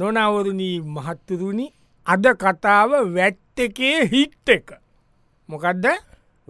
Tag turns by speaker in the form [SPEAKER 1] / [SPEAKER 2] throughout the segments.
[SPEAKER 1] නොනවරණී මහත්තුරුණි අද කතාව වැට් එකේ හිට් එක මොකක්ද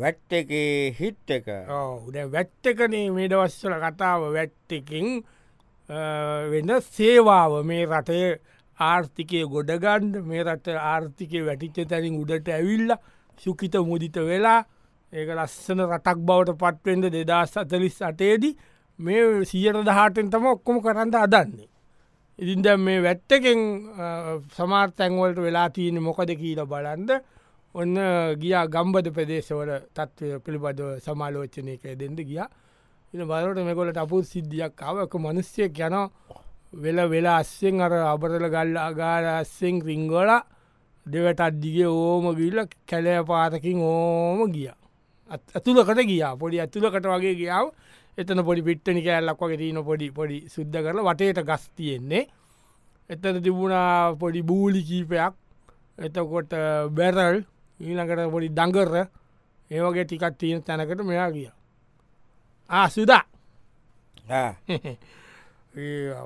[SPEAKER 2] වැට් එකේ හිට් එක
[SPEAKER 1] ඔවුද වැට් එකනේ මේඩවස්සල කතාව වැට්ටකින් වෙන සේවාව මේ රටය ආර්ථිකය ගොඩගන්ඩ මේ රට ආර්ථිකය වැටිච්ච තැනින් උඩට ඇවිල්ල සුකිත මුදිත වෙලා ඒක ලස්සන රටක් බවට පත්වෙන්ද දෙදස් අතලිස් අටේදී මේ සියර දහටෙන් තම ඔක්කොම කරන්න අදන්නේ. ඉතින්ද මේ වැත්තකෙන් සමාර්තැන්වලට වෙලා තියෙන මොකද කියීල බලන්ද ඔන්න ගියා ගම්බද ප්‍රදේශවල තත්ත්වය පිළිබඳව සමාලෝචනයක දෙද ගිය ඉ බලට මෙකොලට අපපු සිද්ධියක් අවක මනුස්්‍යයක් යන වෙල වෙලා අස්සෙන් අර අබරල ගල්ල අගාරස්සෙන් රිංගොල දෙවට අද්දිගේ ඕම ගිල්ල කැලෑ පාතකින් ඕම ගිය ඇතුළකට ගියා පොඩි ඇතුළකට වගේ ගියාව එතන පොඩි පිට්ටනි කෑල්ලක් වගේ තියන පොඩි පොඩි සුද්ධ කරල වටේට ගස් තියෙන්නේ එතන තිබුණා පොඩි බූලි කීපයක් එතකොට බැරල් ඊනකට පොඩි දඟර ඒවගේ ටිකත් තියෙන තැනකට මෙයා ගිය ආසුදා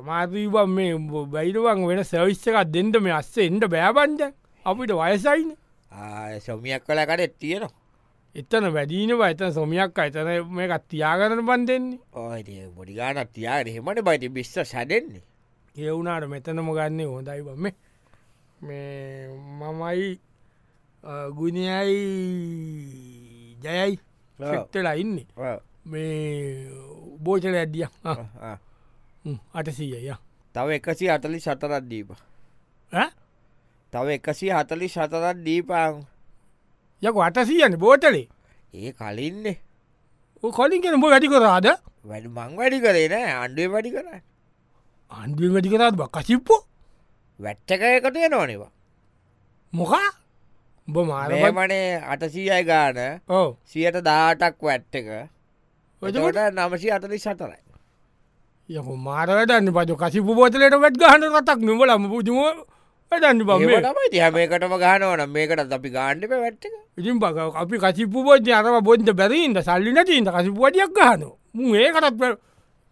[SPEAKER 1] මාතීවන් මේ බැයිරුවන් වෙන සැවිස්සකක් දෙන්ට මේ අස්ස එන්ට බෑබන්ජ අපිට වයසයින්න
[SPEAKER 2] සොමියක් කළ කඩෙත් තියෙන
[SPEAKER 1] එතන වැඩීනවා එතන සොමියක් අතන මේ එකත් තියාගරන පන් දෙන්නේ
[SPEAKER 2] ඕ බොඩිගානක් තියාගෙන හෙමට බයිති බිස්ස සැඩෙන්නේ
[SPEAKER 1] ඒවුනාට මෙතනම ගන්නේ හොඳයි බම මේ මමයි ගුණයයි ජයයි
[SPEAKER 2] ඔව්.
[SPEAKER 1] සෙක්ටලා ඉන්නේ
[SPEAKER 2] ඔව්.
[SPEAKER 1] මේ බෝචල ඇඩිය
[SPEAKER 2] ආ.
[SPEAKER 1] අටසීය
[SPEAKER 2] තව එකසි අතලි සතරත් දීප තව එකසි හතලි සතරත් දීපාන්
[SPEAKER 1] යක අටසීයන්න බෝටලේ
[SPEAKER 2] ඒ කලින්නේ
[SPEAKER 1] කොලින් කෙන බෝ වැඩි කරාද
[SPEAKER 2] වැඩ මං වැඩි කරේ නෑ අන්ඩුව වැඩි කර
[SPEAKER 1] අන්ඩුව වැඩි කරාත් බක් කසිප්පෝ
[SPEAKER 2] වැට්ටකයකටය නොනවා
[SPEAKER 1] මොකා බ මාර
[SPEAKER 2] මේමනේ අටසීයයි ගාන
[SPEAKER 1] ඕ
[SPEAKER 2] සියට දාටක් වැට්ට එක
[SPEAKER 1] එතකොට?
[SPEAKER 2] එතකොට නමසි අතලි සතරයි
[SPEAKER 1] යක මාර වැඩන්න පද කසිපු බෝතලට වැඩ් ගහන්න කතක් නොවලම පුජම වැඩන්න බම
[SPEAKER 2] තමයි තිහමකටම ගානවන මේකටත් අපි ගාණ්ඩිප වැට්ට එක
[SPEAKER 1] ඉතින් බක අපි කසිපු පෝජ්‍ය අරම බොන්ද බැරීන්ට සල්ලි නැතින්ට කසිපුුවඩියක් ගහන මු ඒකටත්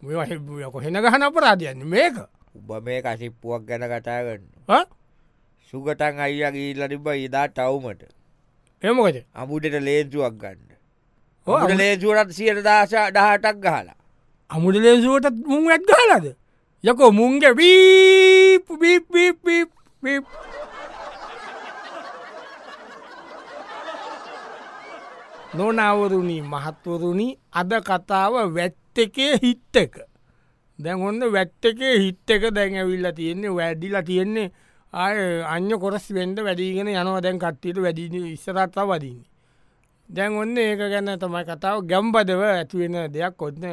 [SPEAKER 1] මෙහෙක හෙන ගහන අපරාධයන්න මේක
[SPEAKER 2] උබ මේ කසිප්පුුවක් ගැන කටාගන්න
[SPEAKER 1] ඈ?
[SPEAKER 2] සුගටන් අයිය ගීල්ල තිබ ඉදා ටව්මට
[SPEAKER 1] එමකද
[SPEAKER 2] අමුටට ලේතුවක් ගන්න ඔට ලේතුරත් සියට දාශ ඩහටක් ගහලා
[SPEAKER 1] අමුඩ ලේසුවටත් මුං ඇත් ගහලද යකෝ මුන්ගේ වීපී නොනවරුණී මහත්වරුණි අද කතාව වැට් එකේ හිට් එක දැන් ඔන්න වැට් එකේ හිට් එක දැන් ඇවිල්ලා තියෙන්නේ වැඩිලා තියෙන්නේ ආය අන්‍ය කොරස් වෙන්ඩ වැඩීගෙන යනවා දැන් කට්ටියට වැඩි ඉස්සරත්තා වදන්නේ දැන් ඔන්න ඒක ගැන තමයි කතාව ගැම්බදව ඇතිවෙන දෙයක් ඔන්න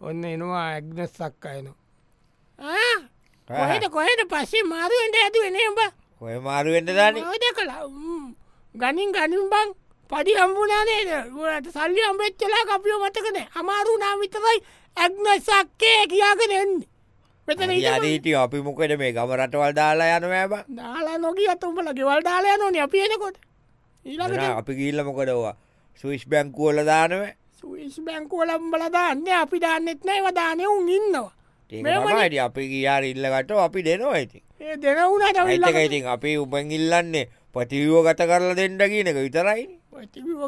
[SPEAKER 1] ඔන්න එනවා ඇක්නස් සක් අයන කොහෙට කොහෙට පස්සේ මාරුවෙන්ට ඇතිවෙන බ
[SPEAKER 2] ඔය මාරුවෙන්ට දාන
[SPEAKER 1] ඔද කලා ගනින් ගනිම් බං පඩි හම්බුනානේද ට සල්ලි අම්බච්චලා කපියෝ මතකන අමාරු නාමිතරයි ඇක්න සක්කේ කියාගෙන එන්නේ මෙතන ඉඳලා-
[SPEAKER 2] යරීටි අපි මොකට මේ ගම රටවල් දාලා යන ෑබ
[SPEAKER 1] දාලා නොගී අතුම්ඹල ගෙවල් දාලා නොන අපි එනකොට ඊළඟට
[SPEAKER 2] අපි ගිල්ල මොකටවා සවිස් බැංකුවල දානව
[SPEAKER 1] සවිස් බැංකුවලම්බල දාන්න අපි දාන්නෙත් නෑ වදානය උන් ඉන්නවා මේවනේ.
[SPEAKER 2] ඒමට අපි ගියා ඉල්ලකට අපි දෙනවා ඇති
[SPEAKER 1] ඒ දෙන වුණට
[SPEAKER 2] ඇතකයිතින් අපි උපන් ඉල්ලන්නේ පටිවෝ ගත කරලා දෙන්නඩ කියනක විතරයි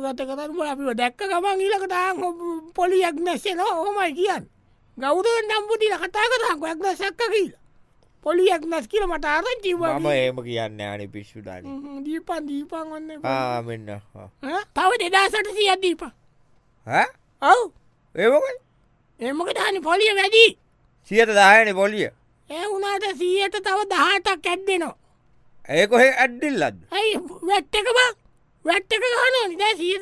[SPEAKER 1] ගත කරම අපිව දැක්ක ගමන් ඊලකට පොලියක් නැසෙන හොමයි කියන්න ගෞද නම්බුතිල කතා කරක් ඇක්න සැක්ක කියලා පොලියක් නැස් කියල මට අර ජීව
[SPEAKER 2] මම ඒම කියන්න අනි පිස්සු දාන
[SPEAKER 1] දීපන් දීපන් ඔන්න
[SPEAKER 2] ආමෙන්න
[SPEAKER 1] තව දෙදාසට සිය දීප ඔව්
[SPEAKER 2] ඒමකයි
[SPEAKER 1] එමක දාන පොලිය වැඩි
[SPEAKER 2] සියට දායන පොලිය
[SPEAKER 1] ඒ වුණට සීයට තව දහටක් ඇත්දෙනවා
[SPEAKER 2] ඒකොහෙ ඇඩ්ඩිල්ලද
[SPEAKER 1] ඇයි වැට්ටක බක් වැට්ටක ගහන නිදා සිය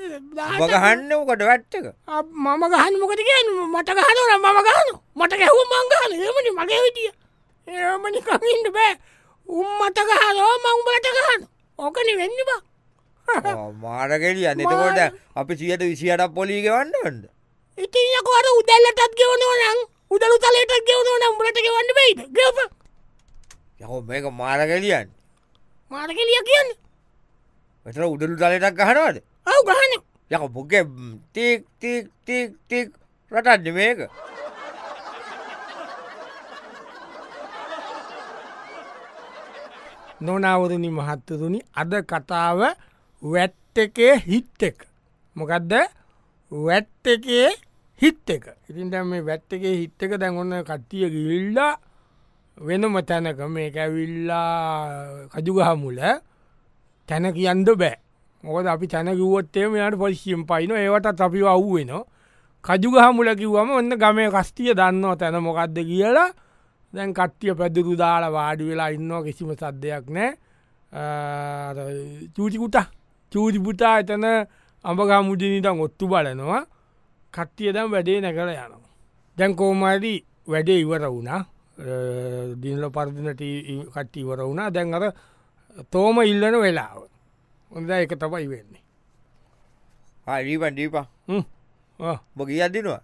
[SPEAKER 2] මගහන්න කට වැට්ටක
[SPEAKER 1] අප- මම ගහන්න මොකද කියන මට ගහනර මම ගහන මට ගැහුව මංගහන එමනි මගේ විටිය ඒමනි කමින්ට බෑ උම්මට ගහනෝ මංබලට ගහන ඕකන වෙන්න බා
[SPEAKER 2] මාරගෙලිය නතකොට අපි සියට විසියට පොලිග වන්න වන්න
[SPEAKER 1] ඉතියකොට උදැල්ලටත් ගෙවනෝ නම් උදලු තලටත් ගෙවනෝ නම් බලට ගෙවන්න බයිද ගෙප
[SPEAKER 2] යහෝ මේක මාරගෙලියන්
[SPEAKER 1] මාරකෙලිය කියන්න
[SPEAKER 2] එතර උඩලු තලටක් ගහනවාද
[SPEAKER 1] ඔව ගහන
[SPEAKER 2] යක බොග ටික් ටික් ටික් ටික් රටන්න මේක
[SPEAKER 1] නොනවරණි මහත්තරුණි අද කතාව වැට් එකේ හිට් එක මොකක්ද වැට් එකේ හිට් එක ඉතින් දැන් මේ වැට් එකේ හිට් එක දැන්ඔන්න කට්ටිය ගිල්ලා වෙනම තැනක මේ ඇවිල්ලා කජුගහමුල තැන කියන්න බෑ මොකද අපි තැනකිවොත්තේ මෙයාට පොලිසිම් පයින ඒවට අපි අව්වෙනවා කජුගහමුල කිව්වම ඔන්න ගමේ කස්ටිය දන්නවා තැන මොකක්ද කියලා දැන් කට්ටිය පැදුරු දාලා වාඩි වෙලා ඉන්නවා කිසිම සද්ධයක් නෑ චූටිකුට චූටිපුටා එතන අඹගමුජනීටන් ඔත්තු බලනවා කට්ටිය දැම් වැඩේ නැකළ යනවා. දැන් කෝමරි වැඩේ ඉවර වුණා දිනල පරදිනට කට්ටි ඉවර වුණා දැන් අර තෝම ඉල්ලන වෙලාව හොඳ එක තමයි වෙන්නේ
[SPEAKER 2] ආඩීපන් ඩීපා
[SPEAKER 1] හ්ම්. ආ.
[SPEAKER 2] බොගී අදිනවා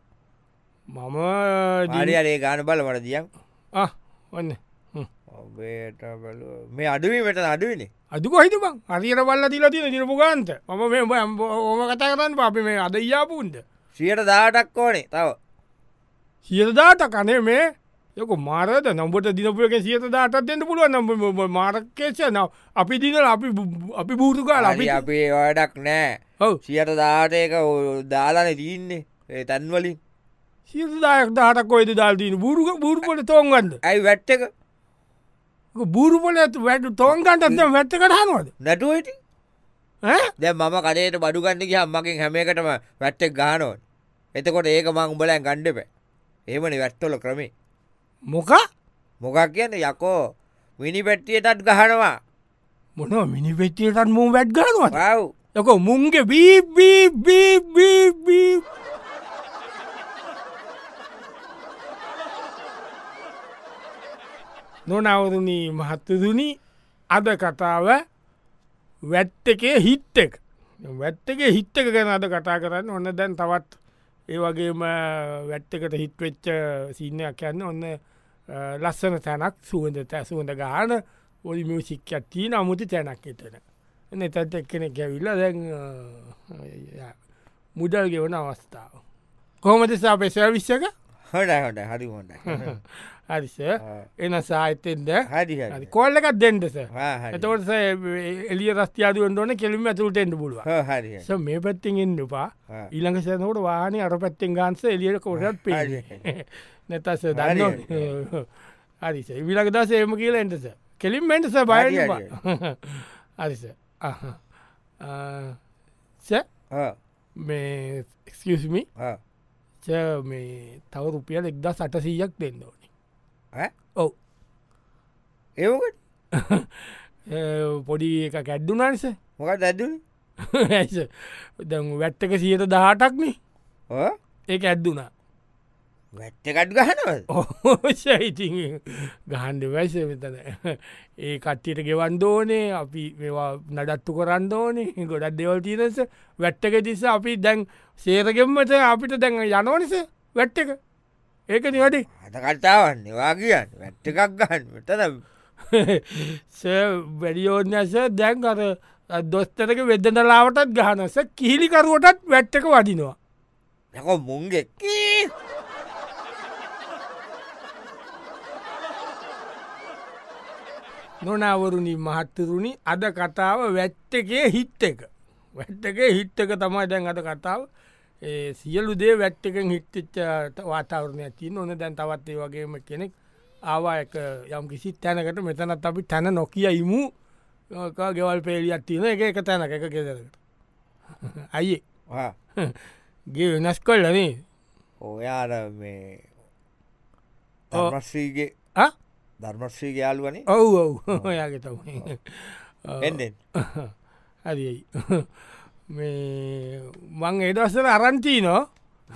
[SPEAKER 1] මම දි-
[SPEAKER 2] ආඩියරේ ගාන බල වල දියන්
[SPEAKER 1] ආ, ඔන්න හ්ම්.
[SPEAKER 2] ඔබේට බල මේ අඩුවීමට අඩුවනේ
[SPEAKER 1] අදු කොහිත බං අරියට බල්ල තිලා තියෙන නිරපුගන්ත ම මේ බ ඕම කතා කරන්න අපි මේ අද යාපුන්ද
[SPEAKER 2] සියට දාටක් ඕනේ තව
[SPEAKER 1] සියදාට කනේ මේ යක මාරද නම්බට දිනපුක සියත දාටත්ෙන්ට පුළුව නම්බ මාරකේශය නව අපි දිනල අපි බු- අපි බූරුකාල අපි
[SPEAKER 2] හරි, අපේ වැඩක් නෑ
[SPEAKER 1] ඔව
[SPEAKER 2] සියට දාටයක දාලාන තියන්නේ ඒ තැන්වලින්
[SPEAKER 1] සියදායක් දාටක් කොයිද දාල්දීන බූරුක බූරුපොට තෝන්ගන්න
[SPEAKER 2] ඇයි වැට්ට එක
[SPEAKER 1] බූරුපොල ඇතු වැට තෝන්ගන්ට වැත්ත කටහනුවද
[SPEAKER 2] නැටුවටි දැ මම කඩේට බඩුගන්න ගිය මකින් හැමකටම වැට්ටෙක් ගානෝන් එතකොට ඒක මං උඹලන් ගණ්ඩප ඒමනි වැට්ටොල ක්‍රමේ
[SPEAKER 1] මොක
[SPEAKER 2] මොකක් කියන්න යකෝ මිනි පැට්ටියටත් ගහනවා
[SPEAKER 1] මොන මිනි පෙච්චියටත් මුම් වැඩ් ගනුවද
[SPEAKER 2] වව්
[SPEAKER 1] යක මුන්ගේ බීබීබීබීබී නොනවරණී මහත්තදුනි අද කතාව වැට් එකේ හිට් එක වැට් එකේ හිට් එක ගැන අද කතා කරන්න ඔන්න දැන් තවත් ඒ වගේම වැට් එකට හිටවෙච්ච සිීනයක් යන්න ඔන්න අ, ලස්සන තැනක් සුවඳ තැසුවඳ ගාන ඔලි මියසික් ඇත්තිී නමුති තැනක් එතන එන්න එතත් එක්කෙන ගැවිල්ල දැන් අ, යා, මුදල් ගෙවන අවස්ථාව කොහොමද සාපේ සැවිස්සක
[SPEAKER 2] හොඩ හොට හරි හොඩ
[SPEAKER 1] හරිස එන සාහිතෙන්ද
[SPEAKER 2] හරි
[SPEAKER 1] හරි
[SPEAKER 2] හරි
[SPEAKER 1] කොල්ල එකක් දෙන්ටස
[SPEAKER 2] හරි
[SPEAKER 1] එතකොට සේ එලිය රස්තියාදුවෙන් ඕන කෙලිම ඇතුළටෙන්ට පුළුව
[SPEAKER 2] හෝ, හරි
[SPEAKER 1] ස මේ පැත්තිෙන් එන්නුපා
[SPEAKER 2] හා.
[SPEAKER 1] ඊළඟ සැනකට වාන අර පැත්තෙන් ගන්ස එලියට කොටත් පේ නැතස දන්න හරිස විලක දස එම කියල එටස කෙලින් මෙන්ටස බය
[SPEAKER 2] හරි,
[SPEAKER 1] හරිස ස
[SPEAKER 2] හෝ,
[SPEAKER 1] මේ එක්මි
[SPEAKER 2] හෝ.
[SPEAKER 1] මේ තව රුපියල් එක්ද සටසීයක් දෙන්න ඕනි
[SPEAKER 2] ඈ?
[SPEAKER 1] ඔව්
[SPEAKER 2] ඒවකට
[SPEAKER 1] ඒ පොඩි එක කැඩ්ඩුනානිස
[SPEAKER 2] මොකක් දැදුන
[SPEAKER 1] ඇස දැන් වැට්ටක සියත දහටක්න ඒ ඇද්දුනා
[SPEAKER 2] වැට්ටකට් ගහනවද
[SPEAKER 1] ඕෂයිති ගහන්ඩ වැස මෙතන ඒ කට්ටියට ගෙවන් දෝනේ අපි මේවා නඩත්තු කරන්න ඕනේ ගොඩක් දෙවල්ටීනස වැට්ටක තිස්ස අපි දැන් සේරගෙන්මට අපිට දැන් යනෝනිස වැට්ට එක ඒක නිවැඩි
[SPEAKER 2] අත කටාවන්නේ වා කියන්න වැට්ටකක් ගහන්න මෙතන
[SPEAKER 1] වැඩියෝනස දැන් අර දොස්තරක වෙදදලාවටත් ගහනස කිහිලිකරුවටත් වැට්ටක වඩිනවා
[SPEAKER 2] යකෝ මුන්ගෙක් කී
[SPEAKER 1] නොනවරුණි මහත්තරුණි අද කතාව වැට්ටකේ හිට් එක. වැට්ටකේ හිට් එක තමයි දැන් අද කතාව ඒ සියලු දේ වැට්ටකෙන් හිට්ටිච්ච වාතාවරණය තින් ඕන දැන් තවත්තේ වගේම කෙනෙක් ආවායක යම් කිසි තැනකට මෙතනත් අපි තැන නොකිය ඉමු ඕක ගෙවල් පේලියත් තියෙන එක එක තැන එක ගෙදරට. අයියේ
[SPEAKER 2] හා
[SPEAKER 1] ගේ වෙනස් කොල්ලනේ
[SPEAKER 2] ඔයාර මේ
[SPEAKER 1] ඔව්.
[SPEAKER 2] ධර්මශ්‍රීගේ
[SPEAKER 1] ආ?
[SPEAKER 2] ධර්මශ්‍රීගේ යාලුවනේ
[SPEAKER 1] ඔව් ඔව් ඔයාගේ තව
[SPEAKER 2] එන්නෙන්
[SPEAKER 1] හරියි මේ මං ඒදස්සල අරන්චී නෝ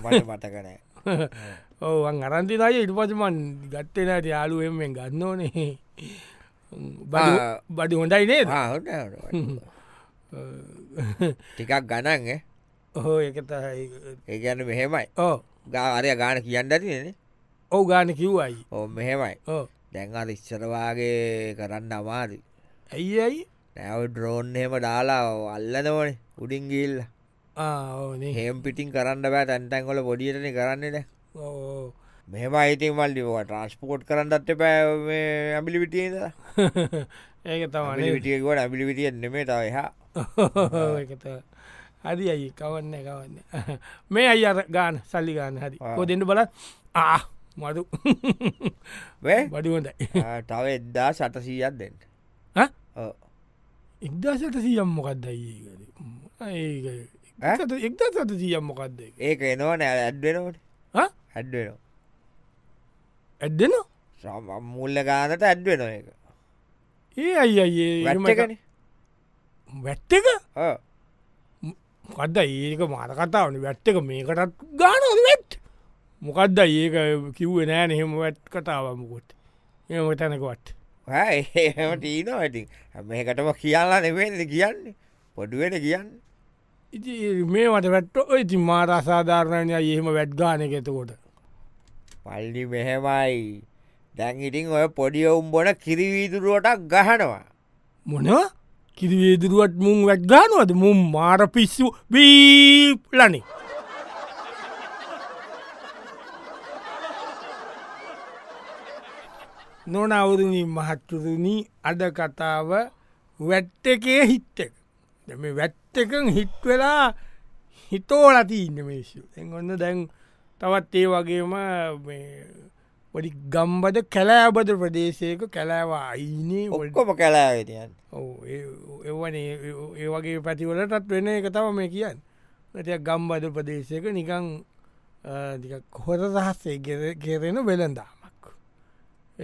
[SPEAKER 2] මට මතකනෑ
[SPEAKER 1] ඕවන් අරන්ති අය ඉට පසමන් ගත්තෙනට යාලුවෙන්ෙන් ගන්න ඕනේ
[SPEAKER 2] ආ.
[SPEAKER 1] බඩි හොඳයි නේද
[SPEAKER 2] හොට ටිකක් ගණන්
[SPEAKER 1] හෝ එකතයි
[SPEAKER 2] ඒගන්න මෙහෙමයි
[SPEAKER 1] ඕ
[SPEAKER 2] ගාරය ගාන කියන්න තියනෙ
[SPEAKER 1] ඔව ගාන කිව්වයි
[SPEAKER 2] ඕ මෙහෙමයි
[SPEAKER 1] ඕ
[SPEAKER 2] දැන් අර ඉස්සරවාගේ කරන්න අමාරි
[SPEAKER 1] ඇයි ඇයි
[SPEAKER 2] නැව ඩ්‍රෝන් එහෙම දාලා අල්ලනවනේ උඩින්ගිල්ල
[SPEAKER 1] ආ, ඕ, නේ.
[SPEAKER 2] හෙම් පිටින් කරන්න බෑ තැන්තැන්ගොල බොඩියටන කරන්නේන
[SPEAKER 1] ඕ, ඕ.
[SPEAKER 2] මෙම අයිතින් මල්ලිව ට්‍රන්ස්පෝට් කරන්නත් පෑ ඇබිලිවිටියද
[SPEAKER 1] ඒක තමයි
[SPEAKER 2] විටියකුවට ඇබිලිවිටිය නෙමේ තව එහා
[SPEAKER 1] ඒකත හරි ඇයි කවන්න කවන්න මේ අයි අර ගාන සල්ලි ගන්න හරි
[SPEAKER 2] ආ.
[SPEAKER 1] කොදෙන්ට බල ආ මඩු
[SPEAKER 2] වේ
[SPEAKER 1] බඩිුවොටයි
[SPEAKER 2] ආ, තව එද්දා සටසීයක් දෙන්න
[SPEAKER 1] ඈ?
[SPEAKER 2] ඔව්.
[SPEAKER 1] එක්දසට සියම් මොකක්ද
[SPEAKER 2] ඈ?
[SPEAKER 1] එක්දසට සියම් මොකක්ද ඒක?
[SPEAKER 2] ඒක එනවා නෑ ඇඩ්වෙනවට
[SPEAKER 1] ආ?
[SPEAKER 2] ඇඩ්වෙන
[SPEAKER 1] ඇත්දෙන
[SPEAKER 2] මුල්ල ගානට ඇඩ්වෙන එක
[SPEAKER 1] ඒ අයි අයිඒ
[SPEAKER 2] වැට්ටකන
[SPEAKER 1] වැට්ට එක මොකක්ද ඒක මාර කතාවන වැට්ට එක මේකටත් ගාන වැට් මොකක්ද ඒක කිව්වේ නෑ නෙහෙම වැට් කතාවමකොත් එම තැනකවත්
[SPEAKER 2] ඒමට ඊන ඇති මේකටම කියලා නෙවේද කියන්න පොඩුවෙන කියන්න
[SPEAKER 1] ඉති මේමට වැට්ට ඉති මාර අසාධාරණය ඒම වැට්ගානක ඇතකොට
[SPEAKER 2] පල්ලි මෙහෙමයි දැන් ඉටින් ඔය පොඩි ඔවුම්බොන කිරිවීදුරුවටක් ගහනවා
[SPEAKER 1] මොනවා කිරිවේදුරුවත් මුං වැට්ගානුවද මුම් මාර පිස්සු බීප්ලනේ නොනවරුණින් මහත්තුරුණි අද කතාව වැට්ට එකේ හිට්ට එක දැම වැට්ට එකන් හිට් වෙලා හිතෝලති ඉන්න මේසු එගොන්න දැන් තවත් ඒ වගේම මේ පොඩි ගම්බද කැලෑබද ප්‍රදේශයක කැලෑවා අයිනේ
[SPEAKER 2] ඔක්කොම කලාවෙතියන්
[SPEAKER 1] එවන ඒ වගේ පැතිවලටත් වෙන එක තම මේ කියන්න නැතිය ගම්බද ප්‍රදේශයක නිකං කොහොත සහස්සේ කෙරෙන වෙළඳාමක්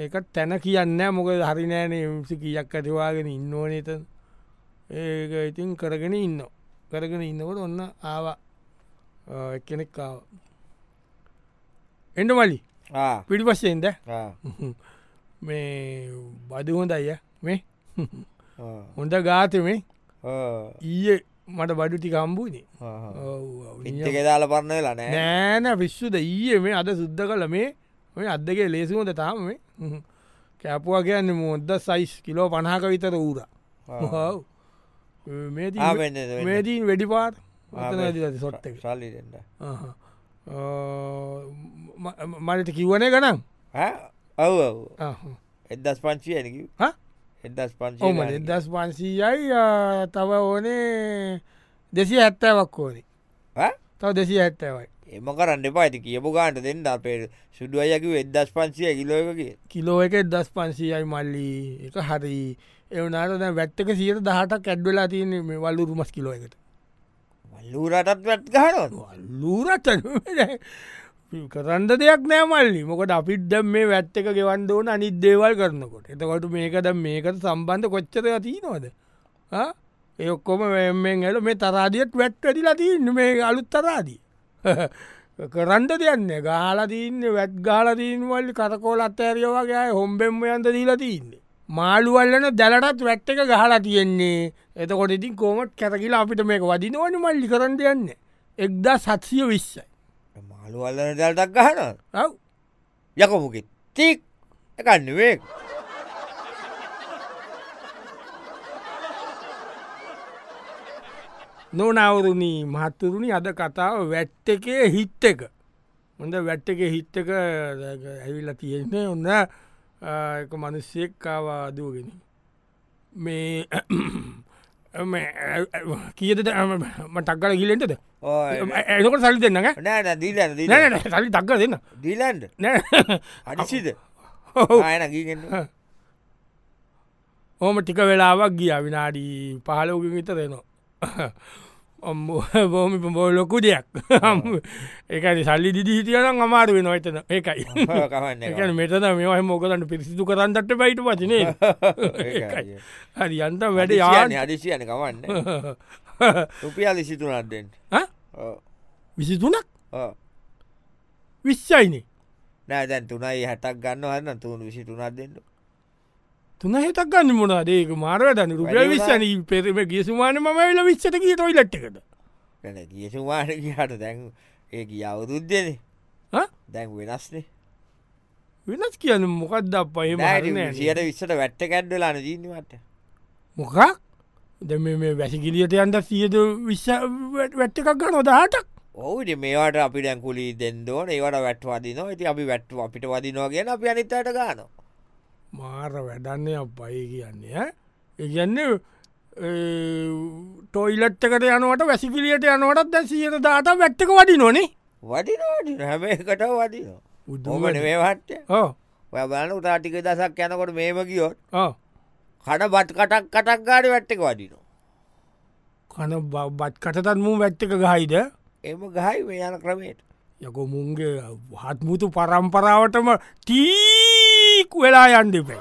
[SPEAKER 1] ඒකත් තැන කියන්න මොක හරිනෑන සි කියක් ඇතිවාගෙන ඉන්න ඕනත ඒක ඉතින් කරගෙන ඉන්න කරගෙන ඉන්නකොට ඔන්න ආවා කෙනෙක් ආව එඩ මලි පිටිපස්සෙන්ද මේ බදු හොඳ අය මේ හොඳ ගාතමේ ඊයේ මට බඩු ටික හම්බුනේ
[SPEAKER 2] ඉච්ච ෙදාල පරන්න වෙලා නෑ
[SPEAKER 1] නෑන විශ්වද ඊයේ මේ අද සුද්ද කල මේ මේ අදගේ ලේසිමොද තාම මේ හ්ම්. කැපුවා කියන්න මොද්ද සයිස් කිලෝ පණහක විතර ඌර ඔව්. මේ දී-
[SPEAKER 2] ආ, වෙන්න, වෙන්න.
[SPEAKER 1] මේදීන් වැඩි පාට සොට්ට
[SPEAKER 2] සල්ලි දෙන්න
[SPEAKER 1] මට කිව්වනය ගනම්
[SPEAKER 2] ඔව ඔව් එදස් පංචියනක එදස්
[SPEAKER 1] ඔම
[SPEAKER 2] පංචි
[SPEAKER 1] දස් පන්සීයයි ආ, තව ඕනේ දෙසි ඇත්තෑවක් ඕනේ තව දෙසි ඇත්තවයි
[SPEAKER 2] එම කරන්න එපා ඇති කියපු ගාන්ට දෙන්න අපේ සුඩු අයකි එදස් පංචිය කිලෝකගේ
[SPEAKER 1] කිලෝ එක දස් පන්සීයයි මල්ලි එක හරි එවනාට දැ වැත්තක සියට දහටක් ඇඩ්වෙලා තියන මේ වල්ලු රුමස් කිලෝ එකට
[SPEAKER 2] මල්ලූරටත් වැත් ගහනොත්
[SPEAKER 1] වල්ලූරට කරන්න දෙයක් නෑ මල්ලි මොකට අපිට්ද මේ වැත්ත එක ගෙවන්ඩ ඕන අනිත් දේවල් කරනකොට එතකොට මේකද මේකට සම්බන්ධ කොච්චර තියනවද ඒ ඔක්කොම වෙෙන් ඇල මේ තරාදිියත් වැට්වැටි ලතින්න මේ අලුත් තරාදී කරන්ඩ දෙයන්න ගාලදීන්න වැත් ගාලදීන්වල් කරකෝල අත්තඇරියෝගේ හොම්බෙම්ම යන්ද දීලතින්න. මාළුවල්ලන දැලටත් වැට්ට එක ගහලා තියෙන්නේ එතකොට ඉතින් කෝමට කැරකිලා අපිට මේක වදිනවන මල්ලි කරන්න යන්න එක්දා සත්සිය විශ්සයි
[SPEAKER 2] මාළුවල්ලන දල්ටක් ගහන
[SPEAKER 1] ඔව්
[SPEAKER 2] යකොමුකි තික් එකන්නවේ
[SPEAKER 1] නොනවරුණී මහත්තුරුණි අද කතාව වැට්ට එකේ හිත් එක හොඳ වැට්ට එක හිත් එක ඇවිල්ලා තියෙන්නේ ඔන්න අ, එක මනුස්සයෙක් කාවාදුවගෙන මේ කියද ටක්ගල ගිලෙන්ටද එකට සල්ි දෙන්නග
[SPEAKER 2] නෑන දීලන්න දීලන්න
[SPEAKER 1] නෑ සල්ි ටක්ක දෙන්න
[SPEAKER 2] දීලන්ඩ
[SPEAKER 1] නෑ
[SPEAKER 2] අඩිසිද
[SPEAKER 1] ඔව්.
[SPEAKER 2] ආයන ගීගන්න
[SPEAKER 1] ඕම ටික වෙලාවක් ගිය විනාඩි පහලෝකින් විත දෙනවා බෝමි බෝ ලොකු දෙයක් එකනි සල්ලි දිදිහිටියනම් අමාරුව නොයිතන එකයි
[SPEAKER 2] කමන්න
[SPEAKER 1] එක මෙතන මෙම මොකදන්න පිරිසිදු කරන්නට පයිට පතිනේ
[SPEAKER 2] ඒකයි.
[SPEAKER 1] හරි අන්ත වැඩ
[SPEAKER 2] වැඩ
[SPEAKER 1] යාන
[SPEAKER 2] යාන අඩිසියන කමන්න රුපියල් ලිසිතුනත්දෙන්ට
[SPEAKER 1] විසිතුනක් විශ්්‍යයිනේ
[SPEAKER 2] නෑ දැන් තුනයි හැටක් ගන්න හන්න තුන් විසිතුනත් දෙන්න
[SPEAKER 1] තුන හෙතක් ගන්න මොනාදේක මාරවැදන්න රුපිය
[SPEAKER 2] වැඩි වුණා.
[SPEAKER 1] විශ්ෂන පෙරම ගේසුමාන ම වෙල විච්චට කිය තොයි ලට්කට
[SPEAKER 2] ගැන ගියසුමානක හට දැන් ඒ අවුරුද්දන
[SPEAKER 1] හ?
[SPEAKER 2] දැන් වෙනස්නේ
[SPEAKER 1] වෙනස් කියන්න මොකක්ද අපයම
[SPEAKER 2] සියට විස්සට වැට්ට කැඩ්ඩලාන දීන්නවට
[SPEAKER 1] මොකක් ද මේ වැසිකිලියට යන්ට සියද විශ් වැට්ටකක් ගන්න නොදාටක්
[SPEAKER 2] ඔහුට මේවාට අපි ඩැංකුලි දෙන්දෝන ඒවට වැට්වාදිනවා ඇති අපි වැට්ව අපිට වදිනවා කියෙන අපි අනිත්තයට ගාන
[SPEAKER 1] මාර වැඩන්නේ අපයි කියන්නේ ඒගන්නේ ටොයිලට්කට යනුවට වැසිකිලියට යනුවටත් දැ සියට දාට වැට්ටක වඩි නොනේ
[SPEAKER 2] වඩිනෝට හැම එකට වදිනවා උදමන
[SPEAKER 1] උදුමන
[SPEAKER 2] මේවට
[SPEAKER 1] ඕ
[SPEAKER 2] ඔයබලන උටාටික දසක් යනකොට මේම ගියොත්
[SPEAKER 1] ඕ
[SPEAKER 2] කඩ බත් කටක් කටක් ගාඩ වැට්ටක වඩිනවා
[SPEAKER 1] කන බ- බත් කටතත් මු වැට්ටක ගහයිද
[SPEAKER 2] එම ගහයි මේ යන ක්‍රමේට
[SPEAKER 1] යකු මුන්ගේ හත්මුතු පරම්පරාවටම ටීක් වෙලා යන්ඩිපේ